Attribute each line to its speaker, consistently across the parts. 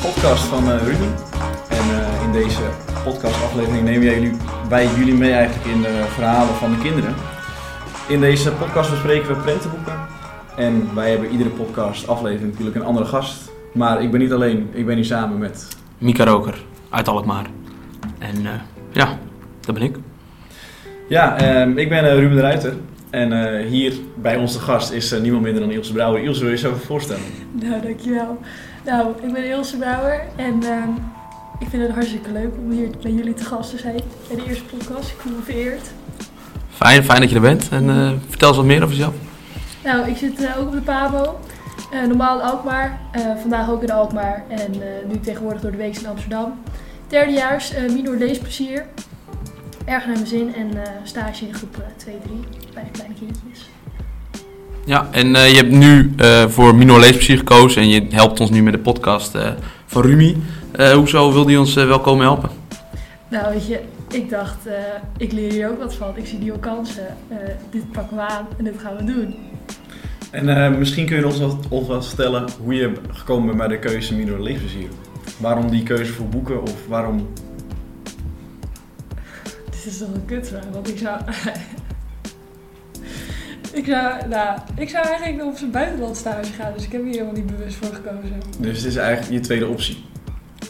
Speaker 1: podcast van eh Ruben. En eh, in deze podcastaflevering nemen wij jullie, wij jullie mee eigenlijk in de verhalen van de kinderen. In deze podcast bespreken we prentenboeken. En wij hebben iedere podcastaflevering natuurlijk een andere gast. Maar ik ben niet alleen, ik ben hier samen met...
Speaker 2: Mika Roker uit Alkmaar. En eh, ja, dat ben ik.
Speaker 1: Ja, ehm, ik ben eh, Ruben de Ruiter. En eh, hier bij ons de gast is eh, niemand minder dan Ilse Brouwer. Ilse, wil je jezelf even voorstellen?
Speaker 3: Nou, dankjewel. Nou, ik ben Ilse Brouwer en ehm, ik vind het hartstikke leuk om hier bij jullie te gast te zijn. Bij de eerste podcast, ik voel me vereerd.
Speaker 2: Fijn, fijn dat je er bent. En eh, vertel eens wat meer over jezelf.
Speaker 3: Nou, ik zit eh, ook op de PABO. eh, normaal in Alkmaar, eh, vandaag ook in Alkmaar en eh, nu tegenwoordig door de week in Amsterdam. Derdejaars, eh minor leesplezier. Erg naar mijn zin en eh, stage in groep eh, 2-3 bij de kleine kindjes.
Speaker 2: Ja, en eh, je hebt nu eh, voor Minor Leesplezier gekozen en je helpt ons nu met de podcast eh, van Rumi. Eh, hoezo wilde je ons eh, wel komen helpen?
Speaker 3: Nou, weet je, ik dacht, eh, ik leer hier ook wat van. Ik zie nieuwe kansen. Eh, dit pakken we aan en dit gaan we doen.
Speaker 1: En eh, misschien kun je ons wat, ons wat vertellen hoe je gekomen bent bij de keuze Minor Leefplezier. Waarom die keuze voor boeken of waarom...
Speaker 3: Dit is toch een kutvraag, want ik zou... ik, zou nou, ik zou eigenlijk nog op zijn buitenland stage gaan, dus ik heb hier helemaal niet bewust voor gekozen.
Speaker 1: Dus het is eigenlijk je tweede optie.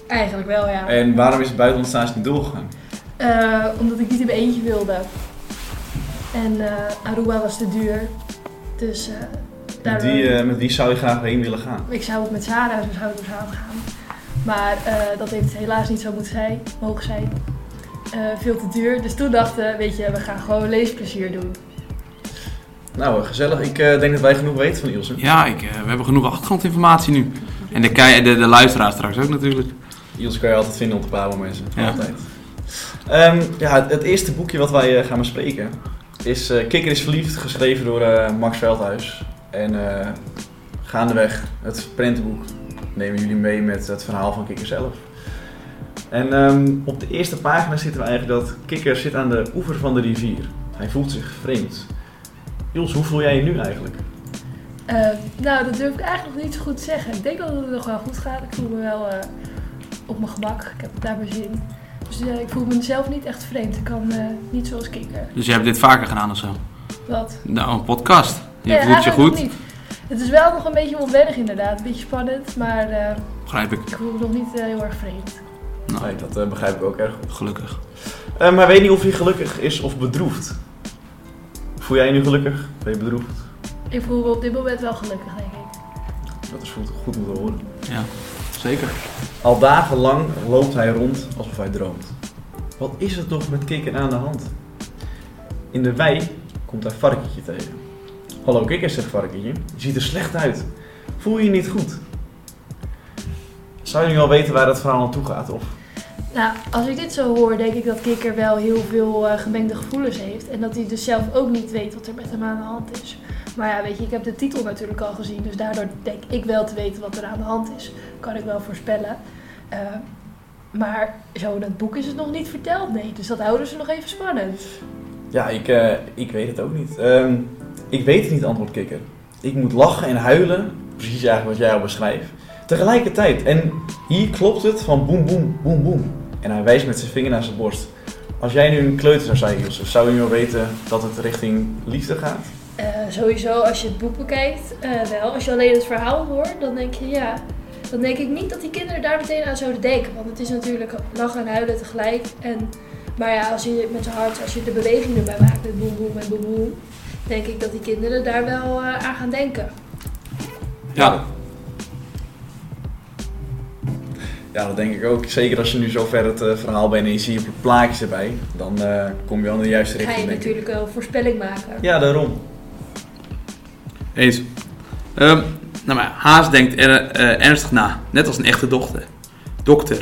Speaker 3: Eigenlijk wel, ja.
Speaker 1: En waarom is het buitenland stage niet doorgegaan?
Speaker 3: Eh, omdat ik niet in mijn eentje wilde. En eh, Aruba was te duur. Dus eh
Speaker 1: Met
Speaker 3: daarom-
Speaker 1: wie, eh, met wie zou je graag heen willen gaan?
Speaker 3: Ik zou ook met Sarah zo zou ik er samen gaan. Maar eh, dat heeft helaas niet zo moeten zijn, mogen zijn. Eh, veel te duur. Dus toen dachten, weet je, we gaan gewoon leesplezier doen.
Speaker 1: Nou, eh, gezellig. Ik eh, denk dat wij genoeg weten van Ilse.
Speaker 2: Ja, ik, eh, we hebben genoeg achtergrondinformatie nu. En de, kei- de, de luisteraar straks ook natuurlijk.
Speaker 1: Ilse kan je altijd vinden op de Pabo mensen.
Speaker 2: Ja.
Speaker 1: Altijd. Ehm, ja, het, het eerste boekje wat wij eh, gaan bespreken is eh, Kikker is verliefd, geschreven door eh, Max Veldhuis. En eh, gaandeweg het prentenboek nemen jullie mee met het verhaal van Kikker zelf. En ehm, op de eerste pagina zitten we eigenlijk dat Kikker zit aan de oever van de rivier. Hij voelt zich vreemd. Ilse, hoe voel jij je nu eigenlijk?
Speaker 3: Eh, nou, dat durf ik eigenlijk nog niet zo goed te zeggen. Ik denk dat het nog wel goed gaat. Ik voel me wel eh, op mijn gemak. Ik heb het naar mijn zin. Dus eh, ik voel mezelf niet echt vreemd. Ik kan eh, niet zoals kikker.
Speaker 2: Dus je hebt dit vaker gedaan of zo?
Speaker 3: Wat?
Speaker 2: Nou, een podcast. Je
Speaker 3: Nee,
Speaker 2: voelt je
Speaker 3: eigenlijk
Speaker 2: goed,
Speaker 3: Niet. Het is wel nog een beetje onwennig inderdaad. Een beetje spannend. Maar eh,
Speaker 2: begrijp ik.
Speaker 3: ik voel me nog niet eh, heel erg vreemd.
Speaker 2: Nou,
Speaker 1: Nee, dat eh, begrijp ik ook erg goed.
Speaker 2: gelukkig.
Speaker 1: Eh, maar weet niet of hij gelukkig is of bedroefd. Voel jij je nu gelukkig? Ben je bedroefd?
Speaker 3: Ik voel me op dit moment wel gelukkig, denk ik.
Speaker 1: Dat is goed, goed om te horen.
Speaker 2: Ja, zeker.
Speaker 1: Al dagenlang loopt hij rond alsof hij droomt. Wat is er toch met Kikker aan de hand? In de wei komt hij Varkentje tegen. Hallo Kikker, zegt Varkentje. Je ziet er slecht uit. Voel je je niet goed? Zou je nu al weten waar dat verhaal naartoe gaat? Of
Speaker 3: Nou, als ik dit zo hoor, denk ik dat kikker wel heel veel eh, gemengde gevoelens heeft. En dat hij dus zelf ook niet weet wat er met hem aan de hand is. Maar ja, weet je, ik heb de titel natuurlijk al gezien. Dus daardoor denk ik wel te weten wat er aan de hand is. Kan ik wel voorspellen. Eh, maar zo in het boek is het nog niet verteld, nee. Dus dat houden ze nog even Dus spannend.
Speaker 1: Ja, ik, eh, ik weet het ook niet. Ehm, ik weet het niet, antwoordt Kikker. Ik moet lachen en huilen. Precies eigenlijk wat jij al beschrijft. Tegelijkertijd. En hier klopt het van boem, boem, boem, boem. En hij wijst met zijn vinger naar zijn borst. Als jij nu een kleuter zou zijn, Jozef, zou je nu al weten dat het richting liefde gaat?
Speaker 3: Eh, sowieso, als je het boek bekijkt, eh, wel. Als je alleen het verhaal hoort, dan denk je ja. Dan denk ik niet dat die kinderen daar meteen aan zouden denken. Want het is natuurlijk lachen en huilen tegelijk. En, maar ja, als je met je hart, als je de beweging erbij maakt met boem boem en boem boem, denk ik dat die kinderen daar wel eh, aan gaan denken.
Speaker 2: Ja.
Speaker 1: Ja, dat denk ik ook. Zeker als je nu zo ver het eh, verhaal bent en je ziet plaatjes erbij, dan eh, kom je wel in de juiste
Speaker 3: Ga
Speaker 1: richting.
Speaker 3: je
Speaker 1: denk ik.
Speaker 3: natuurlijk wel voorspelling maken.
Speaker 1: Ja, daarom.
Speaker 2: Eens. Ehm, nou maar, Haas denkt er, eh, ernstig na. Net als een echte dochter. Dokter.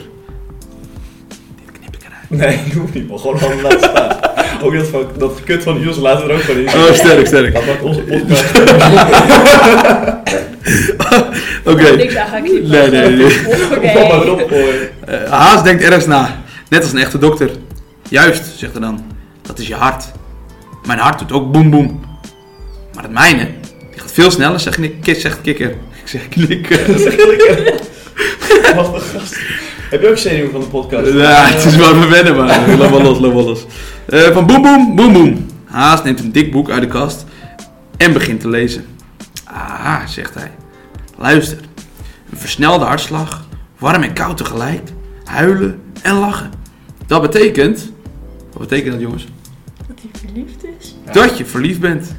Speaker 2: Dit knip ik eruit.
Speaker 1: Nee, je hoeft niet, maar gewoon gewoon laten staan. ook dat, van, dat kut van Jos laten we er ook gewoon in.
Speaker 2: Oh, sterk, sterk.
Speaker 1: Dat wordt onze podcast.
Speaker 2: Oké.
Speaker 3: Niks aan gaan knippen.
Speaker 2: Nee, nee, nee.
Speaker 1: Kom maar
Speaker 3: Oké.
Speaker 1: erop gooien.
Speaker 2: Eh, Haas denkt ernstig na. Net als een echte dokter. Juist, zegt er dan. Dat is je hart. Mijn hart doet ook boem boem. Maar het mijne, die gaat veel sneller, zegt, Kik- zegt Kikker. Ik zeg knikken.
Speaker 1: Dat is echt lekker. Wat een gast. Heb je ook zenuwen van de podcast?
Speaker 2: Ja, het is wel verwennen, maar laat maar los, laat maar los. Eh, van boem boem, boem boem. Haas neemt een dik boek uit de kast en begint te lezen. Ah, zegt hij. Luister. Een versnelde hartslag, warm en koud tegelijk, huilen en lachen. Dat betekent... Wat betekent dat, jongens?
Speaker 3: Dat hij verliefd is.
Speaker 1: Ja.
Speaker 2: Dat je verliefd bent.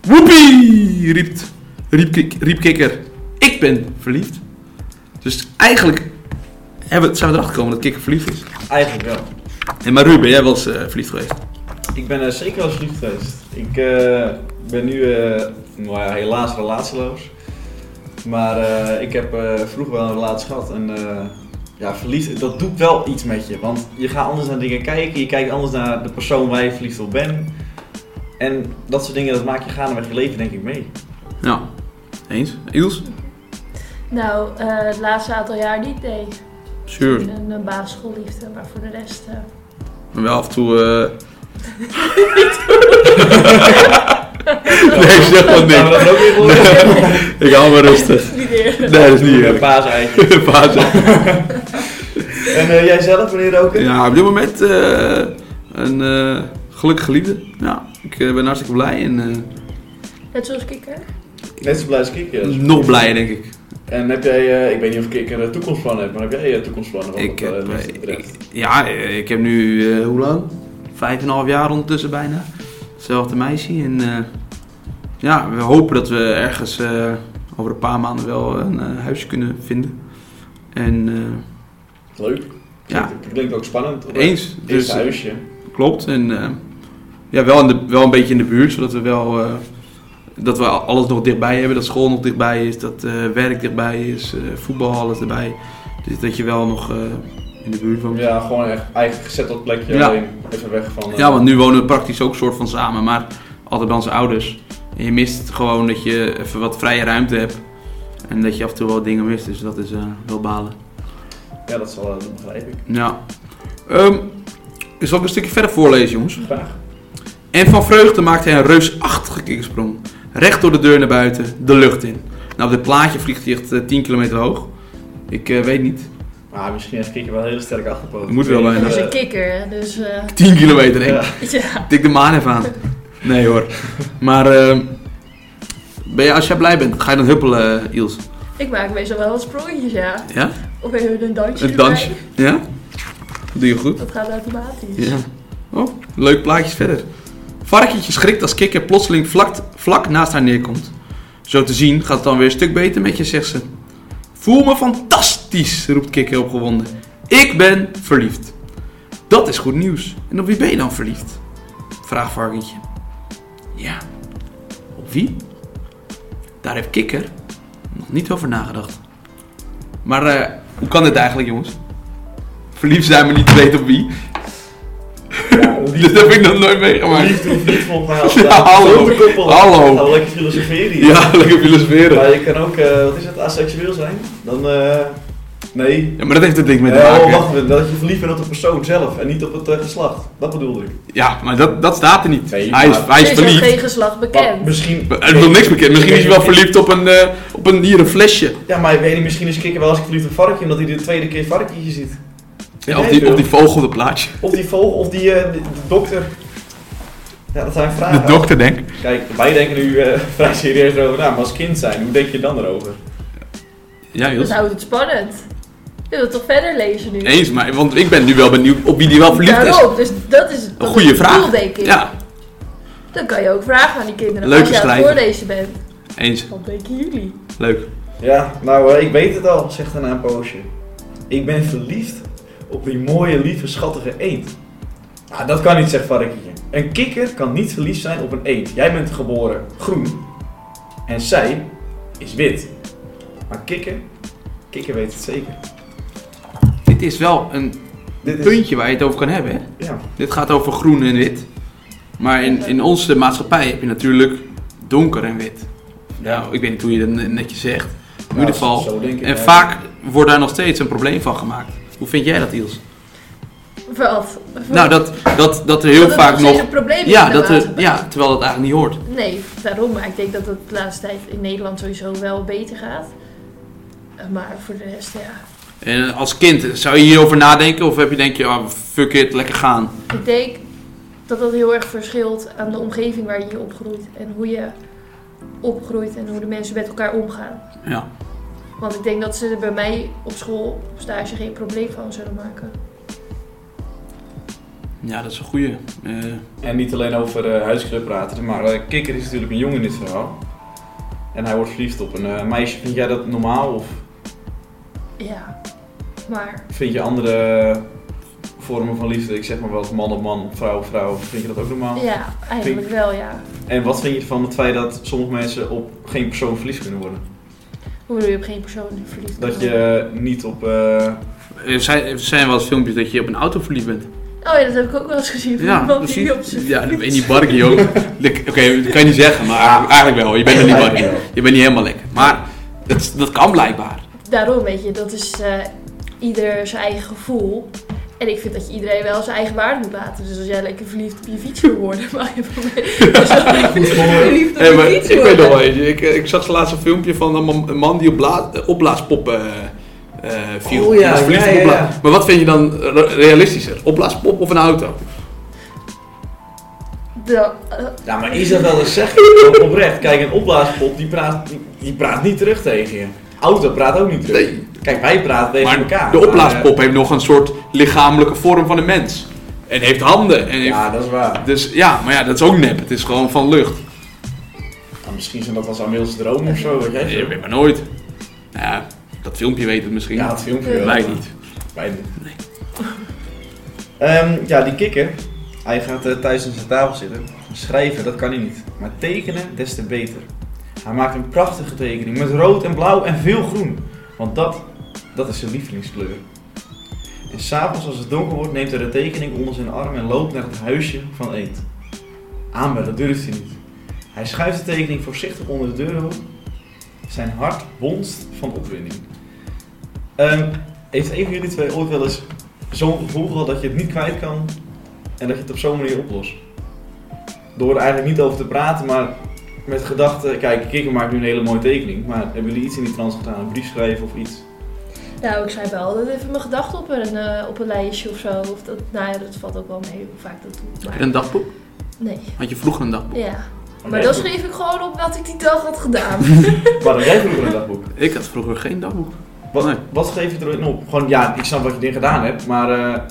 Speaker 2: Woepie, riep, riep, Kik- riep Kikker. Ik ben verliefd. Dus eigenlijk hebben, we- zijn we erachter gekomen dat Kikker verliefd is.
Speaker 1: Eh, Eigenlijk wel.
Speaker 2: En maar Ruben, jij was eh verliefd geweest.
Speaker 1: Ik ben eh, zeker wel eens verliefd geweest. Ik eh, ben nu eh, nou ja, helaas relatieloos. Maar eh, ik heb eh, vroeger wel een relatie gehad. En eh, ja, verliefd, dat doet wel iets met je. Want je gaat anders naar dingen kijken. Je kijkt anders naar de persoon waar je verliefd op bent. En dat soort dingen, dat maak je gaandeweg je leven denk ik mee.
Speaker 2: Nou, eens. Iels?
Speaker 3: Nou, eh, het laatste aantal jaar niet, nee.
Speaker 2: Sure.
Speaker 3: Een, een basisschoolliefde, maar voor de rest... eh,
Speaker 2: Maar wel af en toe... eh nee, zeg maar
Speaker 1: Gaan we
Speaker 2: niks.
Speaker 1: dat ook weer horen?
Speaker 2: Ik hou me rustig.
Speaker 3: niet eerlijk.
Speaker 2: Nee, dat is niet
Speaker 1: Een
Speaker 2: eerlijk.
Speaker 1: paaseitje.
Speaker 2: Paas.
Speaker 1: En eh, jij zelf, meneer Roken?
Speaker 2: Ja, op dit moment eh, een eh gelukkige liefde. Ja, ik eh, ben hartstikke blij en eh,
Speaker 3: Net zoals kikker.
Speaker 1: Net zo blij als Kikker.
Speaker 2: nog blijer denk ik.
Speaker 1: En heb jij, eh, ik weet niet of Kikker een toekomstplan heeft, maar heb jij een toekomstplan? Wat
Speaker 2: Ik
Speaker 1: het, eh,
Speaker 2: heb,
Speaker 1: mensen
Speaker 2: eh,
Speaker 1: betreft?
Speaker 2: ik- ja, eh, ik heb nu, eh, hoe lang? Vijf en een half jaar ondertussen bijna. Hetzelfde meisje. En eh, ja, we hopen dat we ergens eh, over een paar maanden wel een eh, huisje kunnen vinden. En eh,
Speaker 1: Leuk.
Speaker 2: ja,
Speaker 1: Klinkt, klinkt ook spannend. Of,
Speaker 2: eens.
Speaker 1: eh,
Speaker 2: Dus
Speaker 1: Eerste
Speaker 2: eh,
Speaker 1: huisje.
Speaker 2: klopt. En eh, ja, wel, in de, wel een beetje in de buurt, zodat we wel... eh, dat we alles nog dichtbij hebben, dat school nog dichtbij is, dat eh, werk dichtbij is, eh, voetbal, alles erbij. Dus dat je wel nog eh, in de buurt woont.
Speaker 1: Ja, gewoon echt eigen gezetteld plekje.
Speaker 2: Ja.
Speaker 1: Alleen even weg van. eh,
Speaker 2: Ja, want nu wonen we praktisch ook soort van samen, maar altijd bij onze ouders. En je mist gewoon dat je even wat vrije ruimte hebt. En dat je af en toe wel dingen mist, dus dat is eh, wel balen.
Speaker 1: Ja, dat zal eh, dat begrijp ik.
Speaker 2: Ja. Ehm ik zal ook een stukje verder voorlezen, jongens.
Speaker 1: Graag.
Speaker 2: En van vreugde maakt hij een reusachtige kikkersprong. Recht door de deur naar buiten, de lucht in. Nou, op dit plaatje vliegt hij echt eh, 10 kilometer hoog. Ik eh, weet niet.
Speaker 1: Maar misschien heeft Kikker wel een hele sterke achterpoot.
Speaker 2: Moet wel
Speaker 1: Ik weet
Speaker 2: bijna.
Speaker 1: niet,
Speaker 3: Dat is
Speaker 1: eh,
Speaker 3: een kikker, hè, dus... eh,
Speaker 2: 10 kilometer, denk ik.
Speaker 1: ja.
Speaker 3: ja.
Speaker 2: Tik de maan even aan. Nee hoor. Maar ehm, ben je, als jij blij bent, ga je dan huppelen, eh, Iels?
Speaker 3: Ik maak meestal wel wat sprongetjes, ja.
Speaker 2: Ja?
Speaker 3: Of even een dansje
Speaker 2: Een
Speaker 3: erbij.
Speaker 2: dansje? Ja? Doe je goed?
Speaker 3: Dat gaat automatisch.
Speaker 2: Ja. Oh, leuk plaatjes verder. Varkentje schrikt als kikker plotseling vlak, vlak naast haar neerkomt. Zo te zien gaat het dan weer een stuk beter met je, zegt ze. Voel me fantastisch, roept kikker opgewonden. Ik ben verliefd. Dat is goed nieuws. En op wie ben je dan verliefd? Vraagt varkentje. Ja, op wie? Daar heeft kikker nog niet over nagedacht. Maar eh, hoe kan dit eigenlijk, jongens? Verliefd zijn, maar niet weten op wie.
Speaker 1: Ja,
Speaker 2: Dat heb ik nog nooit meegemaakt.
Speaker 1: Liefde hoeft niet volgens mij altijd
Speaker 2: Ja,
Speaker 1: aan
Speaker 2: hallo.
Speaker 1: persoon te koppelen.
Speaker 2: Hallo.
Speaker 1: Nou, lekker filosoferen hier.
Speaker 2: Ja, lekker filosoferen.
Speaker 1: Maar je kan ook, eh, wat is het, asexueel zijn? Dan, eh, nee,
Speaker 2: Ja, maar dat heeft het ding mee te
Speaker 1: Eh, oh,
Speaker 2: maken.
Speaker 1: wacht even, dat je verliefd bent op de persoon zelf en niet op het eh, geslacht. Dat bedoelde ik.
Speaker 2: Ja, maar dat, dat staat er niet.
Speaker 1: Nee,
Speaker 2: Hij is,
Speaker 1: maar-
Speaker 2: hij is
Speaker 3: Er is ook
Speaker 2: verliefd.
Speaker 3: geen geslacht
Speaker 1: Maar
Speaker 3: bekend.
Speaker 1: misschien.
Speaker 2: Er is nog niks bekend. Misschien is hij wel verliefd op een, eh, op een, hier een flesje.
Speaker 1: Ja, maar ik weet niet, misschien is Kikker wel eens verliefd op varkje, omdat hij de tweede keer varkentje ziet.
Speaker 2: Ja, op, die, op die vogel op dat plaatje.
Speaker 1: Of die vogel, of die eh, de, de dokter. Ja, dat zijn vragen.
Speaker 2: De dokter, denk ik.
Speaker 1: Kijk, wij denken nu eh, vrij serieus erover na, maar als kind zijn, hoe denk je dan erover?
Speaker 2: Ja,
Speaker 3: Dat Dus houdt het spannend. Je wilt toch verder lezen nu?
Speaker 2: Eens, maar, want ik ben nu wel benieuwd op wie die wel verliefd is.
Speaker 3: Daarop, dus dat is dat is
Speaker 2: goede
Speaker 3: het
Speaker 2: vraag.
Speaker 3: doel, denk ik.
Speaker 2: Ja,
Speaker 3: Dan kan je ook vragen aan die kinderen
Speaker 2: Leuke
Speaker 3: als je aan het
Speaker 2: schrijver.
Speaker 3: voorlezen bent.
Speaker 2: eens.
Speaker 3: Wat denken jullie?
Speaker 2: Leuk.
Speaker 1: Ja, nou, eh, ik weet het al, zegt hij na een poosje. Ik ben verliefd op die mooie, lieve, schattige eend. Ah, dat kan niet, zegt varkentje. Een kikker kan niet verliefd zijn op een eend. Jij bent geboren groen. En zij is wit. Maar kikker, kikker weet het zeker.
Speaker 2: Dit is wel een
Speaker 1: Dit is-
Speaker 2: puntje waar je het over kan hebben. Hè?
Speaker 1: Ja,
Speaker 2: Dit gaat over groen en wit. Maar in, in onze maatschappij heb je natuurlijk donker en wit. Nou, ik weet niet hoe je dat netjes zegt. In ieder geval.
Speaker 1: Nou, zo denk ik
Speaker 2: En
Speaker 1: wel.
Speaker 2: vaak wordt daar nog steeds een probleem van gemaakt. Hoe vind jij dat, Iels?
Speaker 3: Wat?
Speaker 2: Nou, dat, dat, dat er heel vaak nog...
Speaker 3: Een probleem
Speaker 2: Ja,
Speaker 3: is met
Speaker 2: dat
Speaker 3: de
Speaker 2: er,
Speaker 3: waterbuis.
Speaker 2: ja, terwijl dat eigenlijk niet hoort.
Speaker 3: Nee, daarom. Maar ik denk dat het de laatste tijd in Nederland sowieso wel beter gaat. Eh, Maar voor de rest, ja.
Speaker 2: En als kind, zou je hierover nadenken? Of heb je denk je, ah, fuck it, lekker gaan?
Speaker 3: Ik denk dat dat heel erg verschilt aan de omgeving waar je je opgroeit. En hoe je opgroeit en hoe de mensen met elkaar omgaan.
Speaker 2: Ja.
Speaker 3: Want ik denk dat ze er bij mij op school, op stage, geen probleem van zullen maken.
Speaker 2: ja, dat is een goeie. Eh,
Speaker 1: En niet alleen over eh huisclub praten, maar eh, Kikker is natuurlijk een jongen in dit verhaal. En hij wordt verliefd op een eh, meisje. Vind jij dat normaal of
Speaker 3: Ja, maar
Speaker 1: vind je andere vormen van liefde, ik zeg maar wel eens man op man, vrouw op vrouw, vind je dat ook normaal?
Speaker 3: ja, eigenlijk wel ja.
Speaker 1: En wat vind je van het feit dat sommige mensen op geen persoon verliefd kunnen worden?
Speaker 3: Hoe bedoel je op geen persoon verliefd
Speaker 1: Dat
Speaker 3: worden?
Speaker 1: je niet op... eh,
Speaker 2: Er zijn, er zijn wel eens filmpjes dat je op een auto verliefd bent.
Speaker 3: Oh ja, dat heb ik ook wel eens gezien van
Speaker 2: Ja,
Speaker 3: iemand die op
Speaker 2: precies.
Speaker 3: zijn
Speaker 2: Ja, in
Speaker 3: fiets-
Speaker 2: die barkie ook. Lik- Oké, dat kan je niet zeggen, maar eigenlijk- eigenlijk wel. Je bent in die barkie. Je bent niet helemaal lekker. Maar dat, is- dat kan blijkbaar.
Speaker 3: Daarom, weet je, dat is eh, ieder zijn eigen gevoel. En ik vind dat je iedereen wel zijn eigen waarde moet laten. Dus als jij lekker verliefd op je fiets wil worden, mag je voor mij dus wel lekker verliefd op
Speaker 2: Hey,
Speaker 3: je
Speaker 2: maar ik
Speaker 3: fiets
Speaker 2: weet nog
Speaker 3: worden.
Speaker 2: wel eentje. Ik, eh, ik zag laatst een filmpje van een man, een man die op bla- eh, opblaaspoppen eh, eh, viel.
Speaker 1: Oh ja,
Speaker 2: Die was verliefd
Speaker 1: ja,
Speaker 2: op
Speaker 1: ja,
Speaker 2: opbla-
Speaker 1: ja.
Speaker 2: Maar wat vind je dan re- realistischer? Opblaaspop of een auto?
Speaker 3: Da- eh,
Speaker 1: Ja, maar is dat wel eens zeggen? Oprecht, kijk, een opblaaspop die praat, die, die praat niet terug tegen je. Auto praat ook niet terug.
Speaker 2: Nee.
Speaker 1: Kijk, wij praten tegen
Speaker 2: Maar
Speaker 1: elkaar. eh,
Speaker 2: de
Speaker 1: maar,
Speaker 2: opblaaspop heeft nog een soort lichamelijke vorm van een mens. En heeft handen. En
Speaker 1: eh,
Speaker 2: heeft,
Speaker 1: ja, dat is waar.
Speaker 2: Dus ja, maar ja, dat is ook nep. Het is gewoon van lucht.
Speaker 1: Nou, misschien zijn dat wel Samuels droom of zo, wat jij
Speaker 2: Je
Speaker 1: veel.
Speaker 2: weet maar nooit. Nou ja, dat filmpje weet het misschien.
Speaker 1: Ja, het filmpje
Speaker 3: Nee.
Speaker 1: wel.
Speaker 2: Wij niet.
Speaker 1: Wij niet. Ehm, ja, die kikker, hij gaat eh, thuis aan zijn tafel zitten. Schrijven, dat kan hij niet. Maar tekenen, des te beter. Hij maakt een prachtige tekening met rood en blauw en veel groen. Want dat, dat is zijn lievelingskleur. En s'avonds als het donker wordt, neemt hij de tekening onder zijn arm en loopt naar het huisje van Eend. Aanbellen durft hij niet. Hij schuift de tekening voorzichtig onder de deur op. Zijn hart bonst van opwinding. Ehm, heeft een van jullie twee ooit wel eens zo'n gevoel gehad dat je het niet kwijt kan en dat je het op zo'n manier oplost? Door er eigenlijk niet over te praten, maar met gedachten, kijk, Kikker maakt nu een hele mooie tekening, maar hebben jullie iets in die trans gedaan? Een brief schrijven of iets?
Speaker 3: nou, ik schrijf wel altijd even mijn gedachten op een, eh, op een lijstje of zo. Of dat, nou ja, dat valt ook wel mee hoe vaak dat doe.
Speaker 2: Heb
Speaker 3: Maar
Speaker 2: je een dagboek?
Speaker 3: nee,
Speaker 2: Had je vroeger een dagboek?
Speaker 3: ja. Maar
Speaker 1: Oké,
Speaker 3: dan
Speaker 1: goed.
Speaker 3: schreef ik gewoon op wat ik die dag had gedaan.
Speaker 1: Waarom jij vroeger een dagboek?
Speaker 2: Ik had vroeger geen dagboek.
Speaker 1: Wat,
Speaker 2: Nee.
Speaker 1: wat schreef je erin op? Gewoon, ja, ik snap wat je erin gedaan hebt, maar... eh,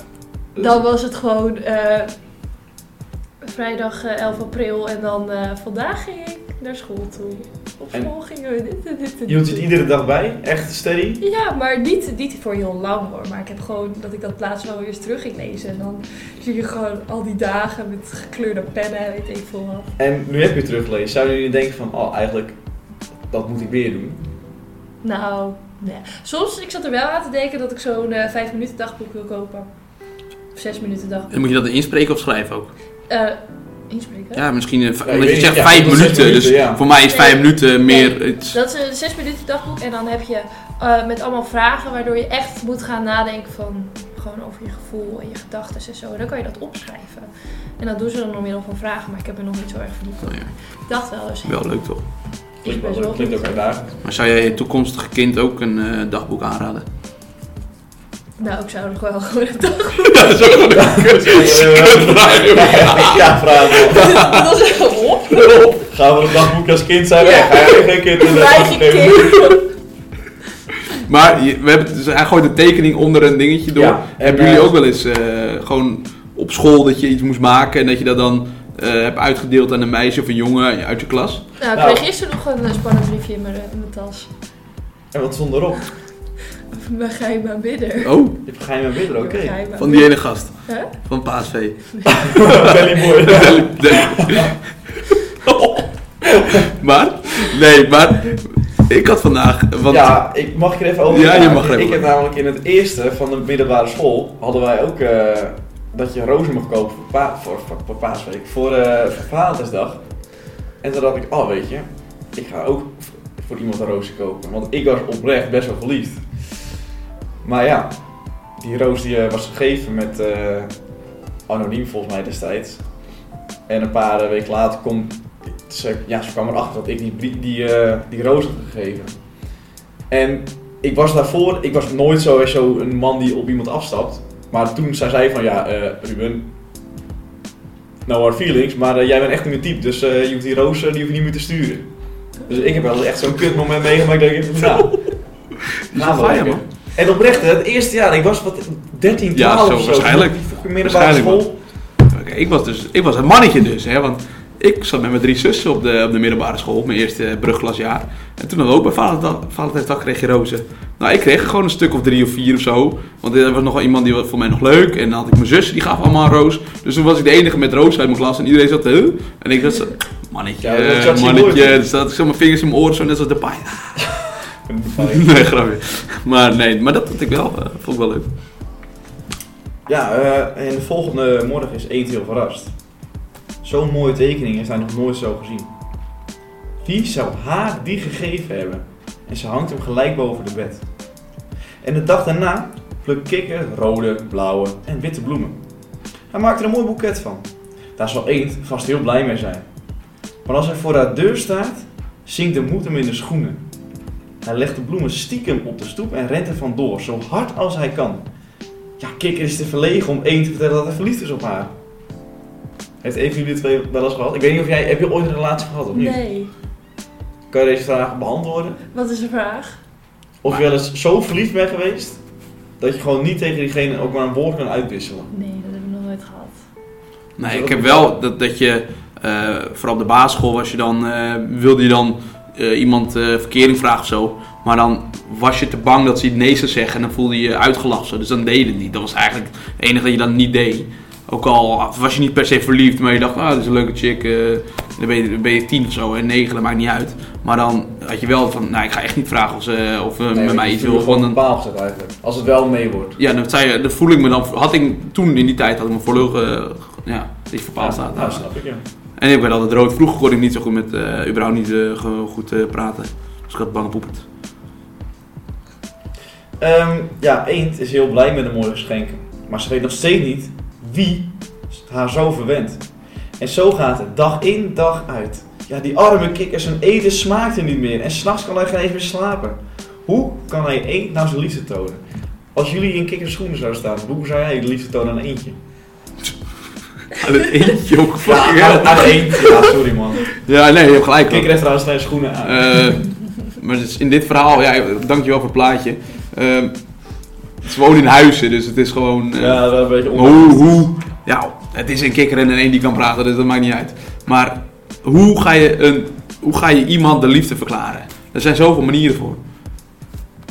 Speaker 3: Dan was het gewoon eh, vrijdag eh, 11 april en dan eh, vandaag ging ik naar school toe. Op
Speaker 1: En-
Speaker 3: school gingen we dit en dit
Speaker 1: Je
Speaker 3: en
Speaker 1: hield
Speaker 3: dit
Speaker 1: het
Speaker 3: doen.
Speaker 1: iedere dag bij, echt steady.
Speaker 3: Ja, maar niet, niet voor heel lang hoor. Maar ik heb gewoon dat ik dat laatst wel weer eens terug ging lezen. En dan zie je gewoon al die dagen met gekleurde pennen en weet ik veel wat.
Speaker 1: En nu heb je het teruggelezen. Zouden jullie denken van, oh, eigenlijk, dat moet ik weer doen?
Speaker 3: Nou, nee. Soms, ik zat er wel aan te denken dat ik zo'n eh 5 minuten dagboek wil kopen. Of 6 minuten dagboek.
Speaker 2: En moet je dat inspreken of schrijven ook?
Speaker 3: Eh, inspreken?
Speaker 2: Ja, misschien. eh, v-
Speaker 1: ik
Speaker 2: omdat
Speaker 1: weet
Speaker 2: je
Speaker 1: niet,
Speaker 2: zegt
Speaker 1: ja,
Speaker 2: vijf
Speaker 1: tot zes
Speaker 2: minuten. Dus
Speaker 1: minuten, ja.
Speaker 2: voor mij is
Speaker 3: Nee.
Speaker 2: vijf minuten meer.
Speaker 3: Nee.
Speaker 2: iets-
Speaker 3: Dat is een 6 minuten dagboek en dan heb je eh, met allemaal vragen waardoor je echt moet gaan nadenken van gewoon over je gevoel en je gedachten en zo. En dan kan je dat opschrijven. En dat doen ze dan door middel van vragen, maar ik heb er nog niet zo erg verdiend.
Speaker 2: Nou ja,
Speaker 3: Ik dacht wel eens.
Speaker 2: wel leuk toch?
Speaker 3: Ik
Speaker 1: Klinkt,
Speaker 3: ben
Speaker 1: wel, leuk,
Speaker 3: zo
Speaker 1: klinkt ook uitdagend.
Speaker 2: Maar zou jij je toekomstige kind ook een eh, dagboek aanraden?
Speaker 3: Nou, ik zou nog wel gewoon een dag.
Speaker 2: Ja, dat is ook wel een
Speaker 1: Ja, vragen.
Speaker 3: Dat is echt op.
Speaker 1: Gaan we een dagboek als kind zijn
Speaker 3: Ja.
Speaker 1: weg? Ga je geen kind in
Speaker 3: Mijn
Speaker 1: de
Speaker 3: eigen
Speaker 1: dagboek
Speaker 3: kind.
Speaker 2: Maar je- we hebben, dus hij gooit de tekening onder een dingetje door.
Speaker 1: Ja, en,
Speaker 2: hebben jullie
Speaker 1: eh,
Speaker 2: ook wel eens eh, gewoon op school dat je iets moest maken en dat je dat dan eh, hebt uitgedeeld aan een meisje of een jongen uit je klas?
Speaker 3: Nou, ik
Speaker 1: Nou.
Speaker 3: kreeg gisteren nog een eh, spannend briefje in mijn, in mijn tas.
Speaker 1: En wat stond erop?
Speaker 3: Mijn geheime aanbidder.
Speaker 2: Oh,
Speaker 1: Je hebt geheime bidder,
Speaker 3: Mijn
Speaker 1: oké.
Speaker 3: geheime
Speaker 2: van die ene gast.
Speaker 3: Huh?
Speaker 2: Van Paasvee.
Speaker 1: Belly boy.
Speaker 2: maar, nee, maar ik had vandaag. Want,
Speaker 1: Ja, ik, mag ik er even over
Speaker 2: Ja, je
Speaker 1: praten?
Speaker 2: mag er even
Speaker 1: Ik heb
Speaker 2: over.
Speaker 1: namelijk in het eerste van de middelbare school hadden wij ook eh, dat je rozen mocht kopen voor, pa, voor, voor, voor paasweek, voor, eh, voor Vadersdag. En toen dacht ik, oh weet je, ik ga ook v- voor iemand een roosje kopen. Want ik was oprecht best wel verliefd. Maar ja, die roos die eh, was gegeven met eh, anoniem volgens mij destijds. En een paar eh, weken later kom, ze, ja, ze kwam erachter dat ik die, brie- die, eh, die roos had gegeven. En ik was daarvoor, ik was nooit zo, zo een man die op iemand afstapt. Maar toen zei zij van ja, eh, Ruben, no hard feelings, maar eh, jij bent echt niet mijn type, dus eh, je hoeft die roos eh, die hoef je niet meer te sturen. Dus ik heb wel eens echt zo'n kut moment meegemaakt dat ik even nou, nou, wel
Speaker 2: fijn,
Speaker 1: lekker.
Speaker 2: man.
Speaker 1: En oprecht, hè, het eerste jaar, ik was wat 13,
Speaker 2: Ja,
Speaker 1: 12
Speaker 2: zo,
Speaker 1: of zo.
Speaker 2: waarschijnlijk.
Speaker 1: Die fucking middelbare
Speaker 2: Waarschijnlijk,
Speaker 1: school.
Speaker 2: Oké, ik, was dus, ik was een mannetje dus, hè, want ik zat met mijn drie zussen op de, op de middelbare school, op mijn eerste eh, brugglasjaar. En toen hadden we ook bij Valentijnsdag- Valentijnsdag kreeg je rozen. Nou, ik kreeg er gewoon een stuk of drie of vier of zo, want er was nog wel iemand die was voor mij nog leuk. En dan had ik mijn zus, die gaf allemaal een roos. Dus toen was ik de enige met roos uit mijn klas en iedereen zat, huh? En ik zat zo, mannetje,
Speaker 1: Ja, dat zat je
Speaker 2: mannetje.
Speaker 1: nooit.
Speaker 2: Dus dat ik zo mijn vingers in mijn oren, zo net als de paai.
Speaker 1: Fijn.
Speaker 2: Nee, grapje. Maar nee, maar dat had ik wel, eh, vond ik wel leuk.
Speaker 1: Ja, eh, en de volgende morgen is Eend heel verrast. Zo'n mooie tekening is hij nog nooit zo gezien. Wie zou haar die gegeven hebben? En ze hangt hem gelijk boven de bed. En de dag daarna plukt kikker rode, blauwe en witte bloemen. Hij maakt er een mooi boeket van. Daar zal Eend vast heel blij mee zijn. Maar als hij voor haar deur staat, zinkt de moed hem in de schoenen. Hij legt de bloemen stiekem op de stoep en rent er vandoor, zo hard als hij kan. Ja, Kikker is te verlegen om één te vertellen dat hij verliefd is op haar. Heeft een van jullie twee wel eens gehad? Ik weet niet of jij... Heb je ooit een relatie gehad of niet?
Speaker 3: Nee.
Speaker 1: Kan je deze vraag beantwoorden?
Speaker 3: Wat is de vraag?
Speaker 1: Of je wel eens zo verliefd bent geweest... dat je gewoon niet tegen diegene ook maar een woord kan uitwisselen.
Speaker 3: Nee, dat heb ik nog nooit gehad.
Speaker 2: Nee, ik heb wel dat, dat je, eh, vooral op de basisschool was je dan, eh, wilde je dan eh, iemand eh, verkering vragen of zo. Maar dan was je te bang dat ze nee zou zeggen en dan voelde je je uitgelachen. zo. Dus dan deed je het niet. Dat was eigenlijk het enige dat je dan niet deed. Ook al was je niet per se verliefd, maar je dacht, ah, dat is een leuke chick. eh, dan ben je, dan ben je tien of zo en negen, dat maakt niet uit. Maar dan had je wel van, nou, ik ga echt niet vragen of ze of, eh, met mij iets wil.
Speaker 1: gewoon
Speaker 2: want
Speaker 1: een
Speaker 2: dan-
Speaker 1: paal gezet eigenlijk. Als het wel mee wordt.
Speaker 2: ja, dan, zei, je- dan voel ik me dan, had ik toen in die tijd, had ik me volledig, eh, ja, dat je verpaald staat.
Speaker 1: Nou, snap ik, ja.
Speaker 2: En ik werd altijd rood. Vroeger kon ik niet zo goed met, eh, überhaupt niet eh, ge- goed eh, praten. Dus ik had bange poepert.
Speaker 1: Ehm, ja, Eend is heel blij met de mooie geschenken. Maar ze weet nog steeds niet wie haar zo verwendt. En zo gaat het, dag in, dag uit. Ja, die arme kikker, zijn eten smaakt hem niet meer. En s'nachts kan hij geen eens meer slapen. Hoe kan hij Eend nou zijn liefde tonen? Als jullie in kikkers schoenen zouden staan, hoe zou jij je liefde tonen aan Eendje?
Speaker 2: Aan het eentje ook.
Speaker 1: Ja, nou, aan, aan Eend. Ja, sorry man.
Speaker 2: Ja, nee, je hebt gelijk. hoor.
Speaker 1: Kikker heeft trouwens zijn schoenen aan.
Speaker 2: Eh, maar dus in dit verhaal, ja, dankjewel voor het plaatje. Ehm ze wonen in huizen, dus het is gewoon... eh,
Speaker 1: ja, dat is een beetje
Speaker 2: Maar Hoe,
Speaker 1: onhandig.
Speaker 2: hoe? Ja, het is een kikker en een één die kan praten, dus dat maakt niet uit. Maar hoe ga je, een, hoe ga je iemand de liefde verklaren? Er zijn zoveel manieren voor.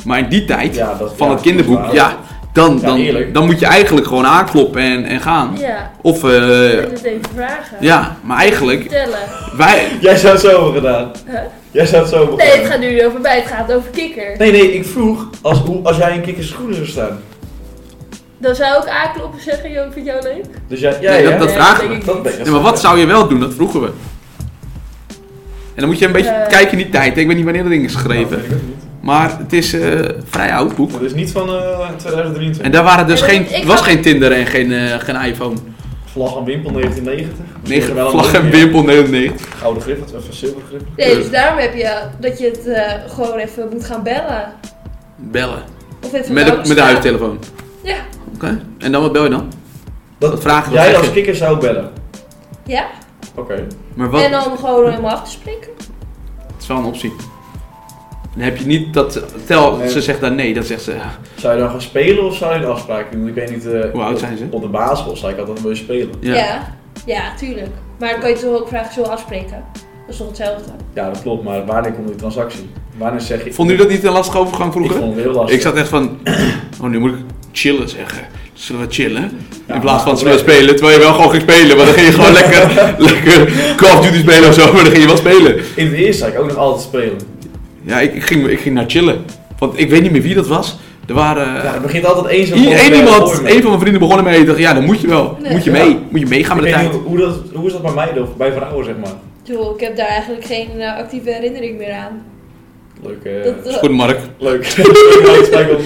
Speaker 2: Maar in die tijd,
Speaker 1: Ja, dat-
Speaker 2: van
Speaker 1: ja,
Speaker 2: het kinderboek,
Speaker 1: dat is waar.
Speaker 2: ja, dan,
Speaker 1: Ja,
Speaker 2: dan,
Speaker 1: eerlijk.
Speaker 2: dan moet je eigenlijk gewoon aankloppen en, en gaan.
Speaker 3: Ja,
Speaker 2: Of,
Speaker 3: ik
Speaker 2: eh,
Speaker 3: heb het even vragen.
Speaker 2: ja, maar eigenlijk,
Speaker 3: Vertellen.
Speaker 2: wij,
Speaker 1: Jij zou het zo hebben gedaan.
Speaker 3: Huh?
Speaker 1: Jij zou het zo hebben
Speaker 3: Nee,
Speaker 1: gedaan.
Speaker 3: het gaat nu niet over mij, het gaat over kikker.
Speaker 1: Nee, nee, ik vroeg als, hoe, als jij in kikkers schoenen zou staan.
Speaker 3: Dan zou ik aankloppen en zeggen, joh, ik vind jou leuk.
Speaker 1: Dus jij, ja,
Speaker 2: Nee,
Speaker 1: ja,
Speaker 2: dat- dat
Speaker 3: Nee,
Speaker 2: vragen
Speaker 3: denk
Speaker 1: we. Dat
Speaker 3: ik
Speaker 1: denk
Speaker 3: niet.
Speaker 1: ik.
Speaker 2: ja, maar wat zou je wel doen? Dat vroegen we. En dan moet je een beetje
Speaker 3: Eh.
Speaker 2: kijken in die tijd. Ik weet niet wanneer dat ding is
Speaker 1: Nou,
Speaker 2: geschreven.
Speaker 1: weet ik ook niet.
Speaker 2: Maar het is eh, vrij oud boek.
Speaker 1: Dat is niet van eh, 2023.
Speaker 2: En daar waren dus
Speaker 3: Ja, maar
Speaker 2: geen,
Speaker 3: ik- ik
Speaker 2: was
Speaker 3: ga-
Speaker 2: geen Tinder en geen, eh, geen iPhone.
Speaker 1: Vlag en wimpel 1990.
Speaker 2: Nee,
Speaker 1: Misschien wel een
Speaker 2: vlag en
Speaker 1: mooie
Speaker 2: wimpel, nee, nee.
Speaker 1: Gouden grip, of een zilveren grip.
Speaker 3: Nee, dus daarom heb je dat je het eh, gewoon even moet gaan bellen.
Speaker 2: Bellen.
Speaker 3: Of even
Speaker 2: Met de,
Speaker 3: langs
Speaker 2: met de
Speaker 3: gaan.
Speaker 2: huistelefoon. Oké.
Speaker 3: Ja.
Speaker 2: En dan wat bel je dan? Wat vragen we?
Speaker 1: Jij
Speaker 2: Zeg
Speaker 1: als
Speaker 2: je?
Speaker 1: kikker zou bellen.
Speaker 3: Ja,
Speaker 1: Oké.
Speaker 2: Maar wat?
Speaker 3: en dan gewoon helemaal af te spreken.
Speaker 2: Het is wel een optie. Dan heb je niet dat... Stel,
Speaker 1: Nee.
Speaker 2: ze zegt daar nee. Dan zegt ze... ja,
Speaker 1: Zou je dan gaan spelen of zou je een afspraak doen? Ik weet niet. eh,
Speaker 2: Hoe oud
Speaker 1: op-
Speaker 2: zijn ze?
Speaker 1: Op de basisschool zei ik altijd: wil je spelen?
Speaker 2: Ja.
Speaker 3: ja. Ja, tuurlijk. Maar dan kan je toch ook vragen, zullen we afspreken? Dat is toch hetzelfde?
Speaker 1: Ja, dat klopt, maar wanneer komt die transactie? Wanneer zeg je.
Speaker 2: Vond u dat niet een lastige overgang
Speaker 1: Ik
Speaker 2: vroeger?
Speaker 1: vond het heel
Speaker 2: Ik,
Speaker 1: lastig.
Speaker 2: zat echt van... Oh, nu moet ik chillen zeggen. Zullen we chillen?
Speaker 1: Ja,
Speaker 2: In plaats van
Speaker 1: maar-
Speaker 2: zullen we spelen, terwijl je wel gewoon ging spelen. Maar dan ging je gewoon lekker, lekker Call of Duty spelen of zo. Maar dan ging je wel spelen.
Speaker 1: In het eerst zei ik ook nog altijd spelen.
Speaker 2: Ja, ik, ik, ging, ik ging naar chillen. Want ik weet niet meer wie dat was. Er waren...
Speaker 1: ja, het begint altijd eens
Speaker 2: Eén Eh. één iemand, een van mijn vrienden begonnen mee. Ik dacht, ja, dan moet je wel.
Speaker 3: Nee.
Speaker 2: Moet je
Speaker 1: Ja.
Speaker 2: mee. Moet je meegaan
Speaker 1: Ik
Speaker 2: met de
Speaker 1: weet
Speaker 2: tijd.
Speaker 1: niet, hoe, dat, hoe is dat bij meiden of bij vrouwen, zeg maar?
Speaker 3: Joh, ik heb daar eigenlijk geen eh, actieve herinnering meer aan.
Speaker 1: Leuk. eh,
Speaker 3: Dat,
Speaker 2: Is goed, Mark.
Speaker 1: Leuk. Leuk, Michael.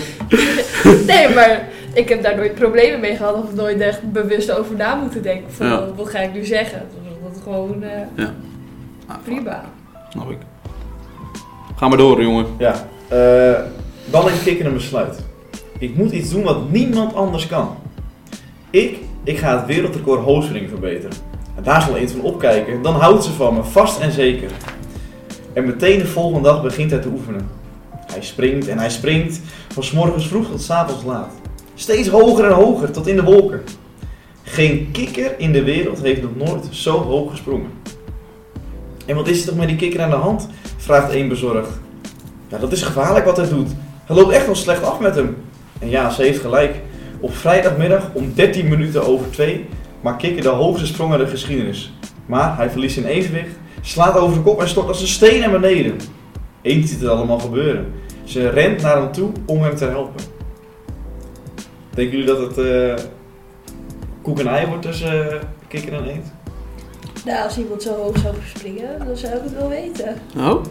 Speaker 3: nee, maar ik heb daar nooit problemen mee gehad of nooit echt bewust over na moeten denken. Van,
Speaker 2: Ja.
Speaker 3: Wat ga ik nu zeggen? Dat is gewoon eh,
Speaker 2: Ah,
Speaker 3: prima.
Speaker 2: Snap ik. Ga maar door, jongen.
Speaker 1: Ja, eh, dan een kikker een besluit. Ik moet iets doen wat niemand anders kan. Ik, ik ga het wereldrecord hoofdspring verbeteren. En daar zal Eend van opkijken, dan houdt ze van me, vast en zeker. En meteen de volgende dag begint hij te oefenen. Hij springt en hij springt, van 's morgens vroeg tot 's avonds laat. Steeds hoger en hoger, tot in de wolken. Geen kikker in de wereld heeft nog nooit zo hoog gesprongen. En wat is er toch met die kikker aan de hand? vraagt één bezorgd. Ja, Nou, dat is gevaarlijk wat hij doet. Hij loopt echt wel slecht af met hem. En ja, ze heeft gelijk. Op vrijdagmiddag om 13 minuten over 2 maakt Kikker de hoogste sprong uit de geschiedenis. Maar hij verliest zijn evenwicht, slaat over de kop en stort als een steen naar beneden. Eend ziet het allemaal gebeuren. Ze rent naar hem toe om hem te helpen. Denken jullie dat het eh, koek en ei wordt tussen eh, Kikker en Eend?
Speaker 3: Nou, als iemand zo hoog zou springen, dan zou ik het wel weten.
Speaker 2: Oh?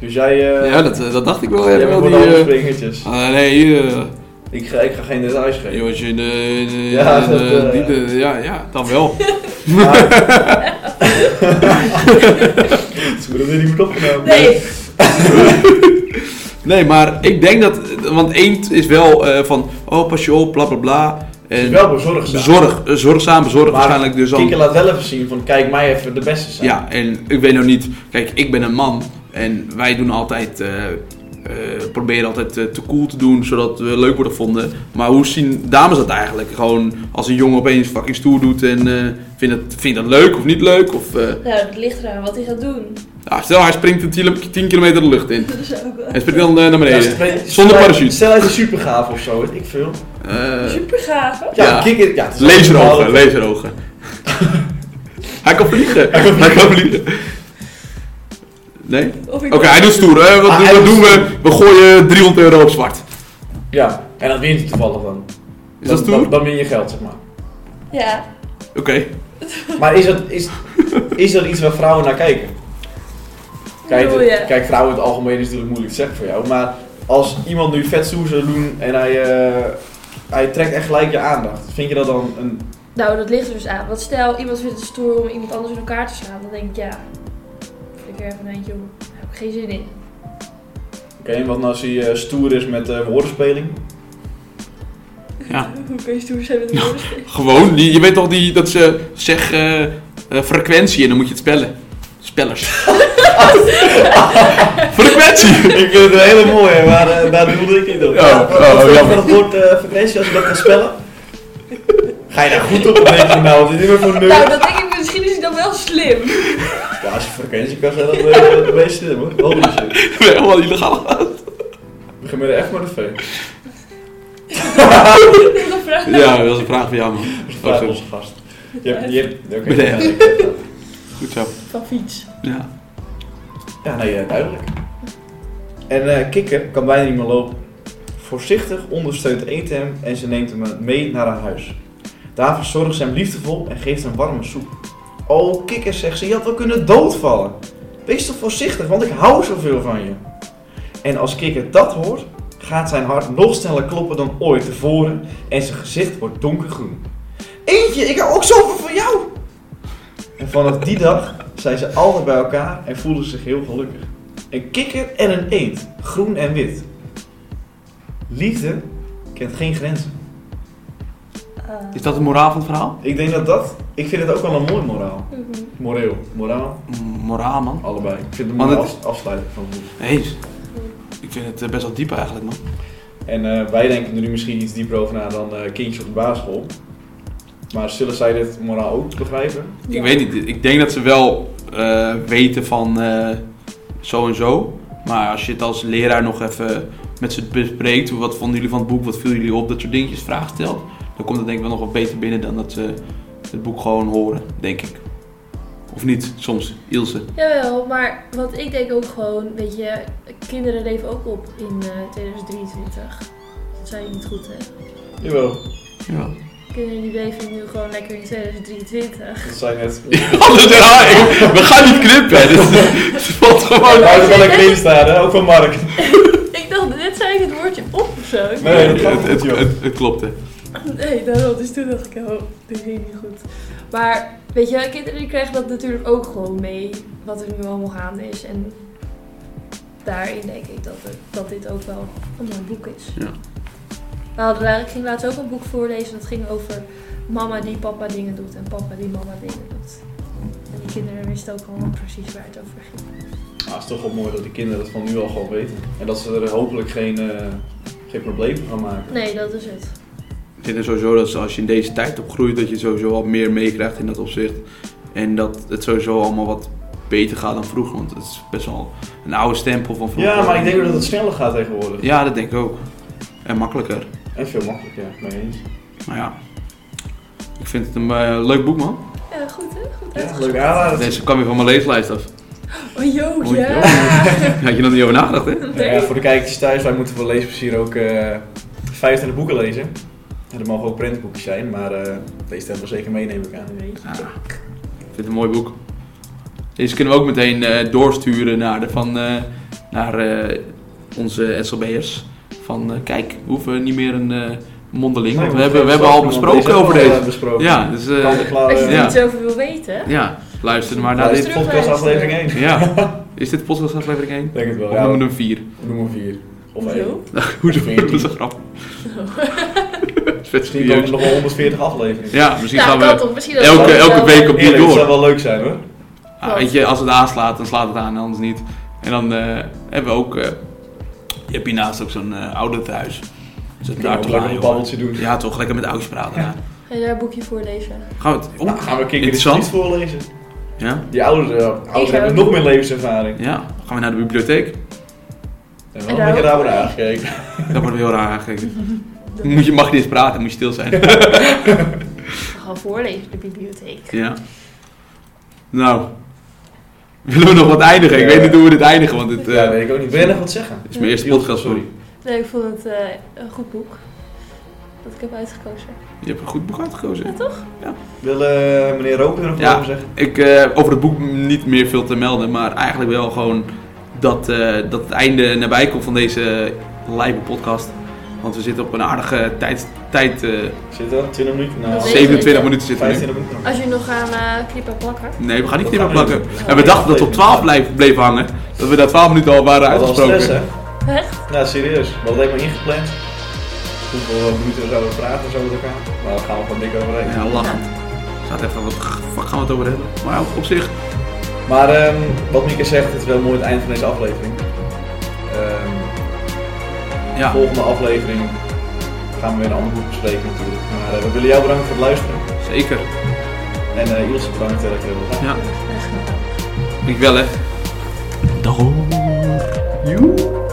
Speaker 1: Dus jij... eh
Speaker 2: ja, dat, eh, dat dacht ik wel.
Speaker 1: jij
Speaker 2: Ja,
Speaker 1: bent
Speaker 2: wel
Speaker 1: voor
Speaker 2: die,
Speaker 1: de hoge
Speaker 2: eh,
Speaker 1: springertjes.
Speaker 2: ah, nee, hier. eh,
Speaker 1: Ik, ga, ik ga geen details geven.
Speaker 2: joh, als je in de- in de-
Speaker 1: Ja,
Speaker 2: in
Speaker 1: dat,
Speaker 2: de-
Speaker 1: eh,
Speaker 2: die de- ja, ja, dan wel.
Speaker 1: Maar- Ze worden weer niet meer opgenomen.
Speaker 3: Nee,
Speaker 2: Nee, maar ik denk dat... Want eend is wel eh, van... Oh, pas je op, bla bla bla.
Speaker 1: Het is
Speaker 2: En
Speaker 1: wel bezorgd.
Speaker 2: bezorg, eh, zorgzaam, bezorgd
Speaker 1: Maar
Speaker 2: waarschijnlijk dus dan.
Speaker 1: Kikker laat wel even zien van kijk mij even de beste zijn.
Speaker 2: Ja, en ik weet nou niet... Kijk, ik ben een man. En wij doen altijd... eh, eh, proberen altijd eh, te cool te doen, zodat we leuk worden gevonden. Maar hoe zien dames dat eigenlijk? Gewoon als een jongen opeens fucking stoer doet en eh vindt, het, vindt dat leuk of niet leuk? Of, eh,
Speaker 3: nou, het ligt eraan wat hij gaat doen.
Speaker 2: nou, stel, hij springt een 10 kilometer de lucht in.
Speaker 3: Dat is ook wel
Speaker 2: Hij springt dan eh, naar
Speaker 1: Ja,
Speaker 2: beneden.
Speaker 1: stel-
Speaker 2: Zonder parachute.
Speaker 1: Stel uit de supergaaf of zo, weet ik veel.
Speaker 2: Eh,
Speaker 3: super gaaf. hè?
Speaker 1: Ja,
Speaker 2: Ja.
Speaker 1: kikker. Ja, het is
Speaker 2: Laserogen,
Speaker 1: allemaal-
Speaker 2: laserogen. hij kan vliegen. Hij kan vliegen. Nee?
Speaker 3: Of ik
Speaker 2: Oké, hij doet stoer. hè? wat
Speaker 1: Ah,
Speaker 2: doen,
Speaker 1: hij
Speaker 2: wat
Speaker 1: doet
Speaker 2: doen we? We gooien 300 euro op zwart.
Speaker 1: Ja, en dat wint hij toevallig dan.
Speaker 2: Is dat
Speaker 1: Dan-
Speaker 2: stoer?
Speaker 1: Dan, dan win je geld, zeg maar.
Speaker 3: Ja,
Speaker 2: Oké.
Speaker 1: Maar is dat, is, is dat iets waar vrouwen naar kijken? Kijk,
Speaker 3: bedoel je?
Speaker 1: kijk, vrouwen in het algemeen is natuurlijk moeilijk te zeggen voor jou. Maar als iemand nu vet stoer zou doen en hij, eh, hij trekt echt gelijk je aandacht. Vind je dat dan een...
Speaker 3: Nou, dat ligt er dus aan. Want stel, iemand vindt het stoer om iemand anders in elkaar te slaan. Dan denk ik, ja, flikker even een eentje om. Daar heb ik geen zin in.
Speaker 1: Oké, en wat nou als hij eh, stoer is met eh, woordenspeling?
Speaker 2: Ja.
Speaker 3: Hoe kun je stoer zijn met een woordenspeling?
Speaker 2: Gewoon, die, je weet toch die, dat ze zeg eh, eh, frequentie en dan moet je het spellen. Spellers. frequentie!
Speaker 1: ik vind het een hele mooie, maar eh, daar doelde ik niet op.
Speaker 2: Oh, oh,
Speaker 1: Wat vind je
Speaker 2: jammer.
Speaker 1: van het woord eh frequentie als je dat kan spellen? Ga je daar goed op? Dan denk je, nou, dit is weer voor
Speaker 3: Nou,
Speaker 1: nerd.
Speaker 3: dat denk ik, misschien is hij dan wel slim.
Speaker 1: Ja, als je frequentie kan zeggen, dan ben je het meeste slim hoor. Holy shit.
Speaker 2: Ik ben helemaal illegaal.
Speaker 1: Begin met de F, maar de V.
Speaker 3: Dat is een vraag.
Speaker 2: Ja, dat is een vraag voor jou man.
Speaker 1: Vraag onze gast. Je hebt, je hebt, oké.
Speaker 2: Met de Goed zo.
Speaker 3: Van fiets.
Speaker 2: Ja.
Speaker 1: Ja, nee, eh, duidelijk. En eh, Kikker kan bijna niet meer lopen. Voorzichtig ondersteunt Eend hem en ze neemt hem eh, mee naar haar huis. Daar verzorgt ze hem liefdevol en geeft hem warme soep. Oh, Kikker, zegt ze, je had wel kunnen doodvallen. Wees toch voorzichtig, want ik hou zoveel van je. En als Kikker dat hoort, gaat zijn hart nog sneller kloppen dan ooit tevoren en zijn gezicht wordt donkergroen. Eentje, ik hou ook zoveel van jou! En vanaf die dag zijn ze altijd bij elkaar en voelden zich heel gelukkig. Een kikker en een eend, groen en wit. Liefde kent geen grenzen.
Speaker 3: Ah.
Speaker 2: Is dat het moraal van het verhaal?
Speaker 1: Ik denk dat dat, ik vind het ook wel een mooi moraal.
Speaker 3: Mhm.
Speaker 1: Moreel, moraal,
Speaker 2: Moraal man.
Speaker 1: allebei. Ik vind het
Speaker 2: Want
Speaker 1: mooi
Speaker 2: het
Speaker 1: als afsluiten van het boek.
Speaker 2: Nee, ik vind het eh, best wel diep eigenlijk, man.
Speaker 1: En eh, wij denken er nu misschien iets dieper over na dan eh, kindjes op de basisschool. Maar zullen zij dit moraal ook begrijpen?
Speaker 3: Ja.
Speaker 2: Ik weet niet, ik denk dat ze wel eh, weten van eh, zo en zo. Maar als je het als leraar nog even met ze bespreekt, hoe- wat vonden jullie van het boek, wat viel jullie op, dat soort dingetjes, vragen stelt, dan komt het denk ik wel nog wat beter binnen dan dat ze het boek gewoon horen, denk ik. Of niet, soms, Ilse.
Speaker 3: Jawel, maar want ik denk ook gewoon, weet je, kinderen leven ook op in eh, 2023. Dat zei je niet goed, hè?
Speaker 1: Jawel,
Speaker 2: Ja.
Speaker 3: Kinderen die leven nu gewoon lekker in 2023.
Speaker 1: dat zijn net.
Speaker 2: Alles herhaal ik. We gaan niet knippen, dus het valt gewoon.
Speaker 1: Hij is wel een staan, hè? ook van Mark.
Speaker 3: ik dacht, net zei ik het woordje op of zo. Ik
Speaker 1: Nee, dat
Speaker 3: weet
Speaker 1: klopt
Speaker 2: het, het,
Speaker 3: niet.
Speaker 1: niet, joh.
Speaker 2: het, het klopte.
Speaker 3: Nee, daarom. Dus toen dacht ik, oh, dit ging niet goed. Maar weet je, kinderen die krijgen dat natuurlijk ook gewoon mee, wat er nu allemaal gaande is. En daarin denk ik dat, het- dat dit ook wel een mooi boek is.
Speaker 2: Ja.
Speaker 3: We hadden, daar- ik ging laatst ook een boek voorlezen, dat ging over mama die papa dingen doet en papa die mama dingen doet. En die kinderen wisten ook allemaal precies waar het over ging.
Speaker 1: Nou, het is toch wel mooi dat die kinderen dat van nu al gewoon weten. En dat ze er hopelijk geen, eh, geen probleem van gaan maken.
Speaker 3: Nee, dat is het.
Speaker 2: Ik vind het sowieso dat als je in deze tijd opgroeit, dat je sowieso wat meer meekrijgt in dat opzicht. En dat het sowieso allemaal wat beter gaat dan vroeger, want het is best wel een oude stempel van vroeger.
Speaker 1: Ja, maar ik denk dat het sneller gaat tegenwoordig.
Speaker 2: Ja, dat denk ik ook. En makkelijker.
Speaker 1: En veel makkelijker, mee eens.
Speaker 2: Maar ja, ik vind het een eh, leuk boek, man.
Speaker 3: Ja, goed hè? Goed
Speaker 1: Ja,
Speaker 3: uitgezocht.
Speaker 1: leuk aanraden.
Speaker 2: Deze kwam weer van mijn leeslijst af.
Speaker 3: Oh, joh,
Speaker 2: Oei,
Speaker 3: ja!
Speaker 2: Daar had je nog niet over nagedacht, hè?
Speaker 1: Nou ja, voor de kijkers thuis, wij moeten voor leesplezier ook eh 25 boeken lezen. En dat mogen ook printboeken zijn, maar eh, deze hebben we zeker mee, neem ik aan.
Speaker 2: Ja, ik vind het een mooi boek. Deze kunnen we ook meteen eh, doorsturen naar, de, van, eh, naar eh, onze SLB'ers. Van eh, kijk, we hoeven niet meer een eh, mondeling, want we hebben, we hebben al besproken over deze. Ja, dus eh,
Speaker 3: Als je
Speaker 2: Ja.
Speaker 3: er iets over wil weten,
Speaker 2: ja, luister maar naar
Speaker 1: naar
Speaker 2: dit.
Speaker 1: deze podcast aflevering 1.
Speaker 2: Ja, is dit podcast aflevering 1?
Speaker 1: Denk het wel,
Speaker 2: Of
Speaker 1: ja.
Speaker 2: noemen we hem 4?
Speaker 1: Nummer 4. Of
Speaker 3: joh.
Speaker 1: 1.
Speaker 2: Hoezo?
Speaker 1: Veertien.
Speaker 2: Dat is een grap. Dat is vet
Speaker 1: Misschien komen
Speaker 2: serieus.
Speaker 1: er nog wel 140 afleveringen.
Speaker 2: Ja, misschien
Speaker 3: Ja,
Speaker 2: gaan
Speaker 3: kan
Speaker 2: we...
Speaker 3: toch? Nou, Misschien dat
Speaker 2: Elke,
Speaker 3: we
Speaker 2: elke
Speaker 3: wel-
Speaker 2: week opnieuw
Speaker 1: Eerlijk, dat
Speaker 2: door.
Speaker 1: zou wel leuk zijn hoor.
Speaker 2: Ah, weet je, als het aanslaat, dan slaat het aan, anders niet. En dan eh, hebben we ook... eh, je hebt hiernaast ook zo'n eh, oude ouderthuis. Dus dat
Speaker 1: We
Speaker 2: daar
Speaker 1: kunnen
Speaker 2: toch
Speaker 1: ook lekker een
Speaker 2: aan,
Speaker 1: babbeltje doen.
Speaker 2: Ja, toch lekker met oudjes praten. Ja.
Speaker 3: Ga je daar een boekje voor lezen?
Speaker 2: Gaan we het...
Speaker 1: Nou,
Speaker 2: Oh,
Speaker 1: gaan we kikken dit
Speaker 2: Interessant.
Speaker 1: niet voorlezen.
Speaker 2: ja?
Speaker 1: Die ouderen, ja,
Speaker 3: Ik
Speaker 1: ouderen hebben
Speaker 3: ook.
Speaker 1: nog meer levenservaring.
Speaker 2: Ja, dan gaan we naar de bibliotheek.
Speaker 1: En
Speaker 3: En
Speaker 1: wel
Speaker 3: daar
Speaker 1: een beetje
Speaker 3: ook.
Speaker 1: raar worden aangekeken.
Speaker 2: Daar worden we heel raar aangekeken. Moet je mag niet eens praten, moet je stil zijn.
Speaker 3: Gewoon voorlezen, de bibliotheek.
Speaker 2: Ja. Nou. Willen we nog wat eindigen? Ik weet niet hoe we dit eindigen, want dit eh,
Speaker 1: Ja, weet ik ook niet. Wil jij nog wat zeggen?
Speaker 2: is mijn eerste podcast. Sorry.
Speaker 3: Nee, ik vond het eh, een goed boek. Dat ik heb uitgekozen.
Speaker 2: Je hebt een goed boek uitgekozen.
Speaker 3: Ja,
Speaker 2: hè?
Speaker 3: toch?
Speaker 1: Wil eh, meneer Roker er nog wat
Speaker 2: Ja.
Speaker 1: over zeggen?
Speaker 2: Ik, eh, over het boek niet meer veel te melden, maar eigenlijk wel gewoon dat, eh, dat het einde nabij komt van deze live podcast. Want we zitten op een aardige tijd, tijd eh,
Speaker 1: Zit er? 20 minuten? Nou,
Speaker 3: Dat Oh. weet ik
Speaker 2: 27 minuten zitten we nu.
Speaker 1: 25 minuten. nog.
Speaker 3: Als jullie nog gaan eh, knippen plakken.
Speaker 2: Nee, we gaan niet
Speaker 1: Dat
Speaker 2: meer
Speaker 1: gaan we
Speaker 2: plakken.
Speaker 1: niet doen.
Speaker 2: En we dachten dat we op 12 bleef, bleef hangen. Dat we daar 12 minuten al waren
Speaker 1: Dat was
Speaker 2: uitgesproken.
Speaker 1: stress, hè?
Speaker 3: Echt?
Speaker 1: Nou, serieus. We hadden helemaal ingepland. Hoeveel eh, minuten we zouden praten zo met elkaar. Maar we gaan er gewoon dik overheen.
Speaker 2: Ja, lachend. Ik zat even, wat fuck gaan we het over hebben? Maar op, op zich,
Speaker 1: Maar ehm, wat Mieke zegt, het is wel mooi het eind van deze aflevering. Ehm,
Speaker 2: ja.
Speaker 1: Volgende aflevering gaan we weer een ander boek bespreken natuurlijk. Maar eh, we willen jou bedanken voor het luisteren.
Speaker 2: Zeker.
Speaker 1: En eh Ilse bedankt eh, dat je er was.
Speaker 2: Ja,
Speaker 3: Echt.
Speaker 2: ik wel hè. Dag hoor. Joe.